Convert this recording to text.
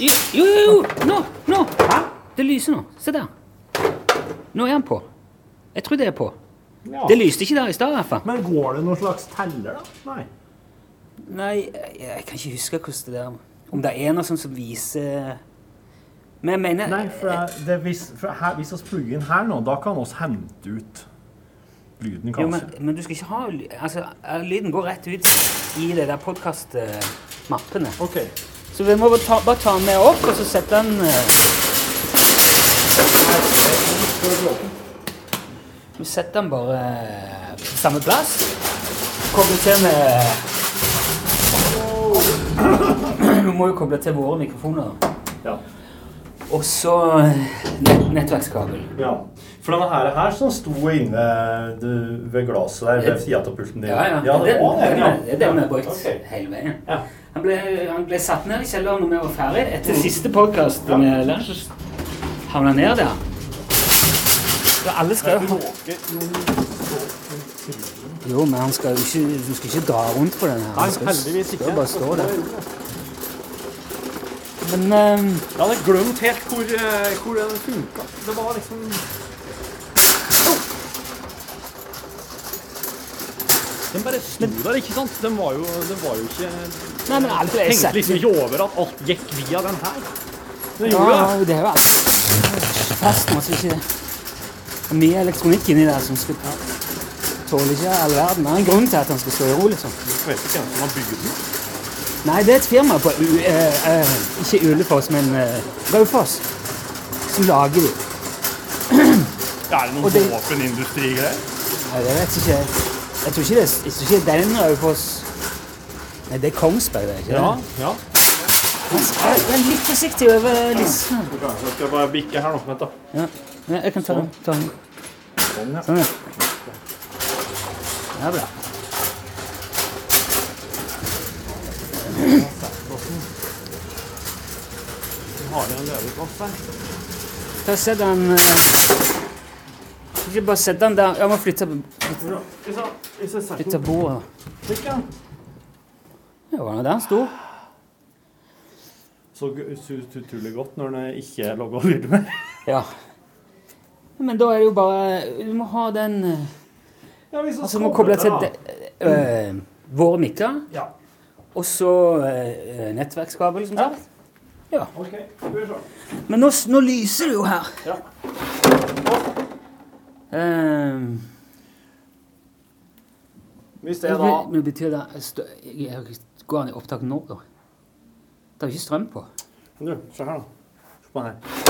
Jo, jo, jo! Nå! nå. Hæ? Det lyser nå. Se der. Nå er han på. Jeg tror det er på. Ja. Det lyste ikke der i stad, i hvert fall. Men går det noen slags teller, da? Nei. Nei, jeg, jeg kan ikke huske hvordan det der Om det er noe sånt som viser Men jeg mener Nei, for, jeg- det, hvis, for her, hvis vi plugger inn her nå, da kan vi hente ut lyden, jo, men, kanskje. men du skal ikke ha ly- Altså, eh, lyden går rett ut i de der podkast-mappene. OK. Så vi må bare ta, bare ta den med opp, og så sette den eh, Vi setter den bare eh, på samme plass. Koble til med Du må jo koble til våre mikrofoner. Ja. Og så eh, nett, nettverkskabel. ja. For denne her, her som sto inne du, ved glasset der ved sida av pulten din Ja, ja. ja, det var den, den, ja. er- det er den vi har brukt Ok. hele veien. Ja. Han ble, han ble satt ned i kjelleren når vi var ferdig. Etter siste podkast Mm. Ja. med lunsj så havna han ned der. Så alle skal jo ha Jo, men han skal jo ikke, du skal ikke dra rundt på den her. Han Nei, skal, heldigvis ikke. skal bare stå der. Men ehm, Jeg hadde glemt helt hvor, eh, hvor den funka. Det var liksom Den bare sto der, ikke sant? Den var jo, den var jo ikke Nei, men alt er Tenkte sett. liksom ikke over at alt gikk via den her. Den Ja, gjorde det. det er jo alt. Fast masse ikke det. Det er Mye elektronikk inni der som skal tåler ikke all verden. Det er en grunn til at han skal stå i ro, liksom. Jeg vet ikke hvem som har bygd den. Nei, det er et firma på U... eh, eh, ikke Ulefoss, men uh, Raufoss. Som lager de. Er det Og noen det- våpenindustrigreier? Nei, det vet jeg ikke. Jeg tror ikke det, jeg tror ikke det er den Raufoss Nei, det er Kongsberg, det er ikke det? ja. Jeg jeg er litt forsiktig over listen. Jeg skal bare bikke her nå. Vent, da. Ja. ja, jeg kan ta den. Ta den. Sånn, ja. Sånn, ja. Det er bra. Har du en leverpost her? Da setter han eh, Kan Ikke bare sette den der. Jeg må flytte, Hvis jeg- hvis jeg setter flytte bordet. den slik, ja. Ja, var det der han sto? Så g- så utrolig godt når den ikke logger lyd med. Ja. Men da er det jo bare Du må ha den eh, Ja, hvis vi Altså, vi må koble til da. de- eh, våre mikker, Ja, og så eh, nettverkskabel, som sagt. ok. Skal vi se. Men nå, s- nå lyser det jo her. Ja. Ehm, Hvis det men da men betyr det eh, stø- jeg- Går han i opptak nå, da? Det er jo ikke strøm på. Du, se her, da. Se på den her.